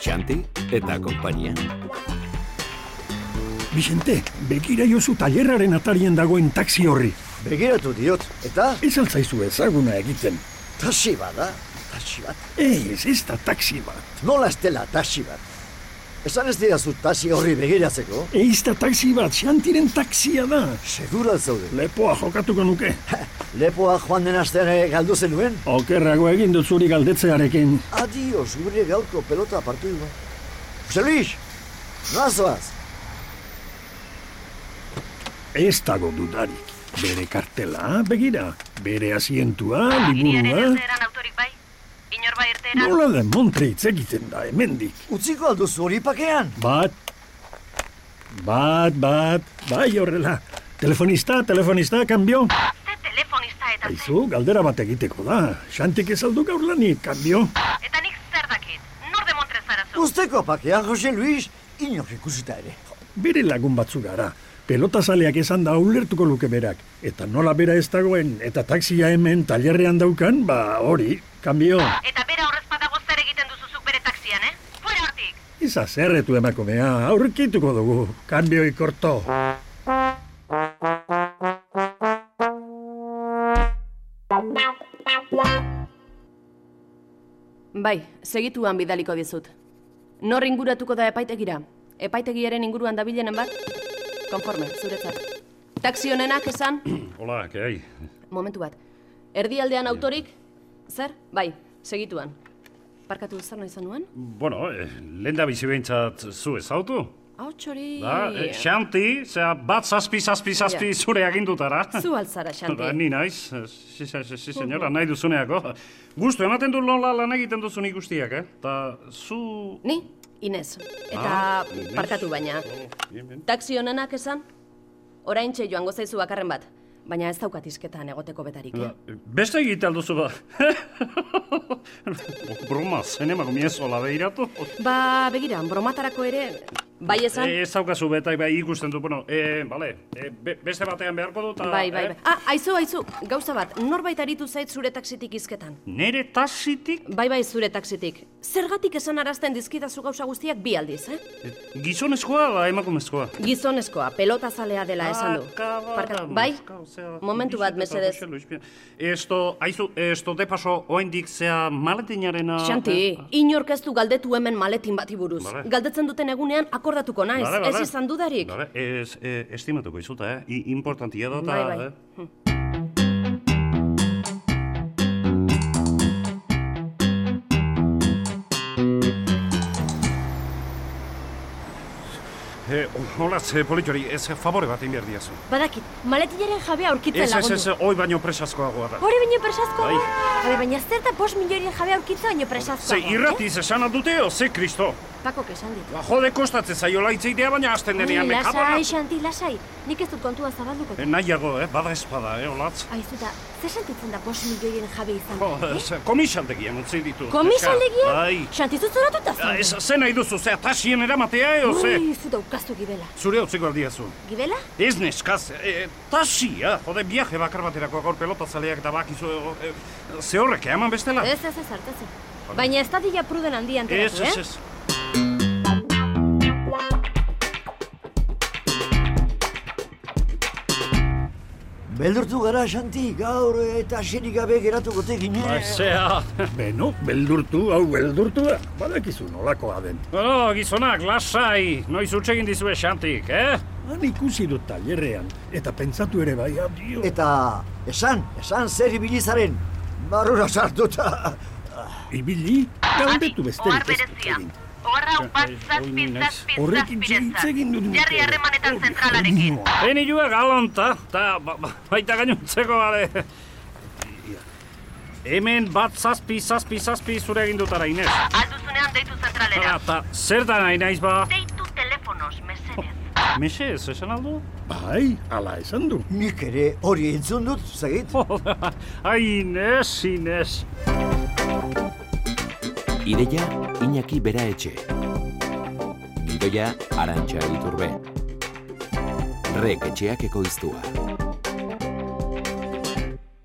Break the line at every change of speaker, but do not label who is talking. Santi eta konpainia.
Bixente, bekira jozu tailerraren atarien dagoen taxi horri.
Begiratu diot, eta
Ez altzaizu ezaguna egiten.
tasi bada, tasi bat,
Ez, ez da taxi bat.
nola estela tasi bat. Esan ez dira zu tasi horri begiratzeko,
Ez da taxi bat, xantiren taxia da.
segura zaude.
Lepoa jokatuko nuke.
Lepoa joan den astean ere galdu zenuen,
Okerrago egin dut zuri galdetzearekin.
adios gure gaurko pelota partidua. Jose Luis, nazoaz,
Ez dago dudarik. Bere kartela, begira. Bere asientua,
Hiriaren
liburua.
irteeran autorik bai? Inor bai irteeran?
Nola da montre hitz egiten da, hemendik.
utziko alduzu hori pakean.
Bat, bat, bat, bai horrela. Telefonista, telefonista, kanbio.
Ze telefonista eta ze.
Aizu, galdera bat egiteko da. Xantik ez aldu gaur lanik, kanbio.
Eta nik zer dakit? Nor demontre zara zu?
Uzteko pakean, Jose Luis, inok ikusita ere.
Bere lagun batzu gara. Pelotazaleak esan da ulertuko luke berak. Eta nola bera ez dagoen, eta taxia hemen tailerrean daukan, ba hori, kanbio.
Eta bera horrez badago zer egiten duzuzuk bere taksian, eh? Fuera hortik!
Iza zerretu emakumea, aurkituko dugu, kanbio ikorto.
Bai, segituan bidaliko dizut. Nor inguratuko da epaitegira? Epaitegiaren inguruan dabilenen bat? Konforme, zuretzat. Taxi honenak esan?
Hola, que hay?
Momentu bat. Erdialdean autorik? Zer? Bai, segituan. Parkatu zer nahi izan nuen?
Bueno, eh, lehen da bizi behintzat zu ezautu.
Hau txori...
Da, eh, Xanti, zera bat zazpi, zazpi, zazpi
Ja.
zure agindutara.
Zu altzara,
Ba,
Xanti.
ni naiz, eh, si, si, si, si, senyora, nahi duzuneako. Gustu, ematen du lola lan egiten duzun ikustiak, eh? Ta, zu...
Ni? Inez. Eta
Ah, Inez.
parkatu baina.
Oh, bien, bien.
Taxi honenak esan? Oraintxe joango zaizu bakarren bat. Baina ez daukat izketan egoteko betarik. eh?
Da, Beste egite alduzu ba. Bromaz, ene mago miezola behiratu.
Ba, begira, bromatarako ere... Bai esan?
Eh, Ez daukazu betai bai ikusten du, bueno, eh, bale, eh, be- beste batean beharko dut. ta,
Bai, bai,
eh?
bai. Ah, aizu, aizu, gauza bat, norbait aritu zait zure taksitik izketan.
Nere taxitik
Bai, bai, zure taksitik. Zergatik esan arazten dizkidazu gauza guztiak bi aldiz, eh?
gizonezkoa ba emakumezkoa.
Gizonezkoa, pelotazalea dela esan du.
Akabada,
Parka- bai?
mozka, ozea,
Momentu bat,
bizitza
mesedez.
Jose Luis Pia. Esto, aizu, esto de paso, oendik zea eh? maletinarena...
Xanti, inork ez du galdetu hemen maletin bati buruz.
Bale.
Galdetzen duten egunean akordatuko naiz,
Bale, bale.
ez izan dudarik.
Bale, ez, eh, estimatuko izuta, eh? I, importantia da,
Bai,
ta,
bai.
eh? Eh, hola, ze politxori, ez favore bat egin behar diazu.
Badakit, maletinaren jabea aurkitzen
Ez, ez, ez,
lagundu.
oi baino presazkoagoa da.
Hori baino presazkoa
Bai.
da? Hore, baina zer da bost milioren jabea aurkitza baino eh? presazkoa
Ze irratiz esan aldute, o ze kristo?
Pako kesan dit.
Ba, jode kostatzen zaiola hitz egitea, baina hasten denean mekabana.
lasai, Xanti, lasai. Nik ez dut kontua zabalduko.
Eh, nahiago, eh, bada espada, eh, olatz.
Aizuta, zer sentitzen da bost milioien jabe izan?
Jo, ez, komisaldegian utzi ditu.
Komisaldegia?
Bai.
Xanti, zuzoratuta
Ah,
zen.
Ez, ze nahi duzu, ze atasien eramatea, eo,
Bai.
ze?
Ui, zu daukaztu gibela.
Zure utziko aldiazu.
Gibela?
Ez neskaz, e, tasia, jode viaje bakar baterako gaur pelotazaleak da bakizu, e, e, ze horrek, eman bestela?
Ez, ez, ez, hartatzen. Baina ez da dila pruden handian
ez,
teratu,
ez,
eh?
ez.
Beldurtu gara, Xanti, gaur eh, eta asirik gabe geratuko tekine.
Ba, zea.
Beno, beldurtu, hau beldurtu da. Badakizu nolakoa den.
Bueno, gizonak, lasai, noiz utxegin dizue xantik, eh?
Han ikusi dut tailerrean, eta pentsatu ere bai, adio.
Eta esan, esan zer ibilizaren, barrura sartuta.
Ibili, galdetu
Adi,
besterik ez dut
berezia.
egin.
Ohar hau bat
Eh,
zazpi,
hori naiz.
zazpi,
Horrekin
zazpirentzat.
hitz egin dut.
Jarri harremanetan
Hori,
zentralarekin.
joa.
Beni joa galanta, eta ba, ba, baita gainontzeko, bale. Hemen bat zazpi, zazpi, zazpi zure egin dutara, Inez.
Alduzunean deitu zentralera.
Eta zer da nahi naiz ba?
Deitu telefonos, mesedez.
Mexe, ez esan aldu?
Bai, ala esan du.
Nik ere hori entzun dut, zegit.
Ai, Inez, Inez.
Ideia Iñaki Bera Etxe. Gidoia Arantxa Iturbe. Rek etxeak ekoiztua.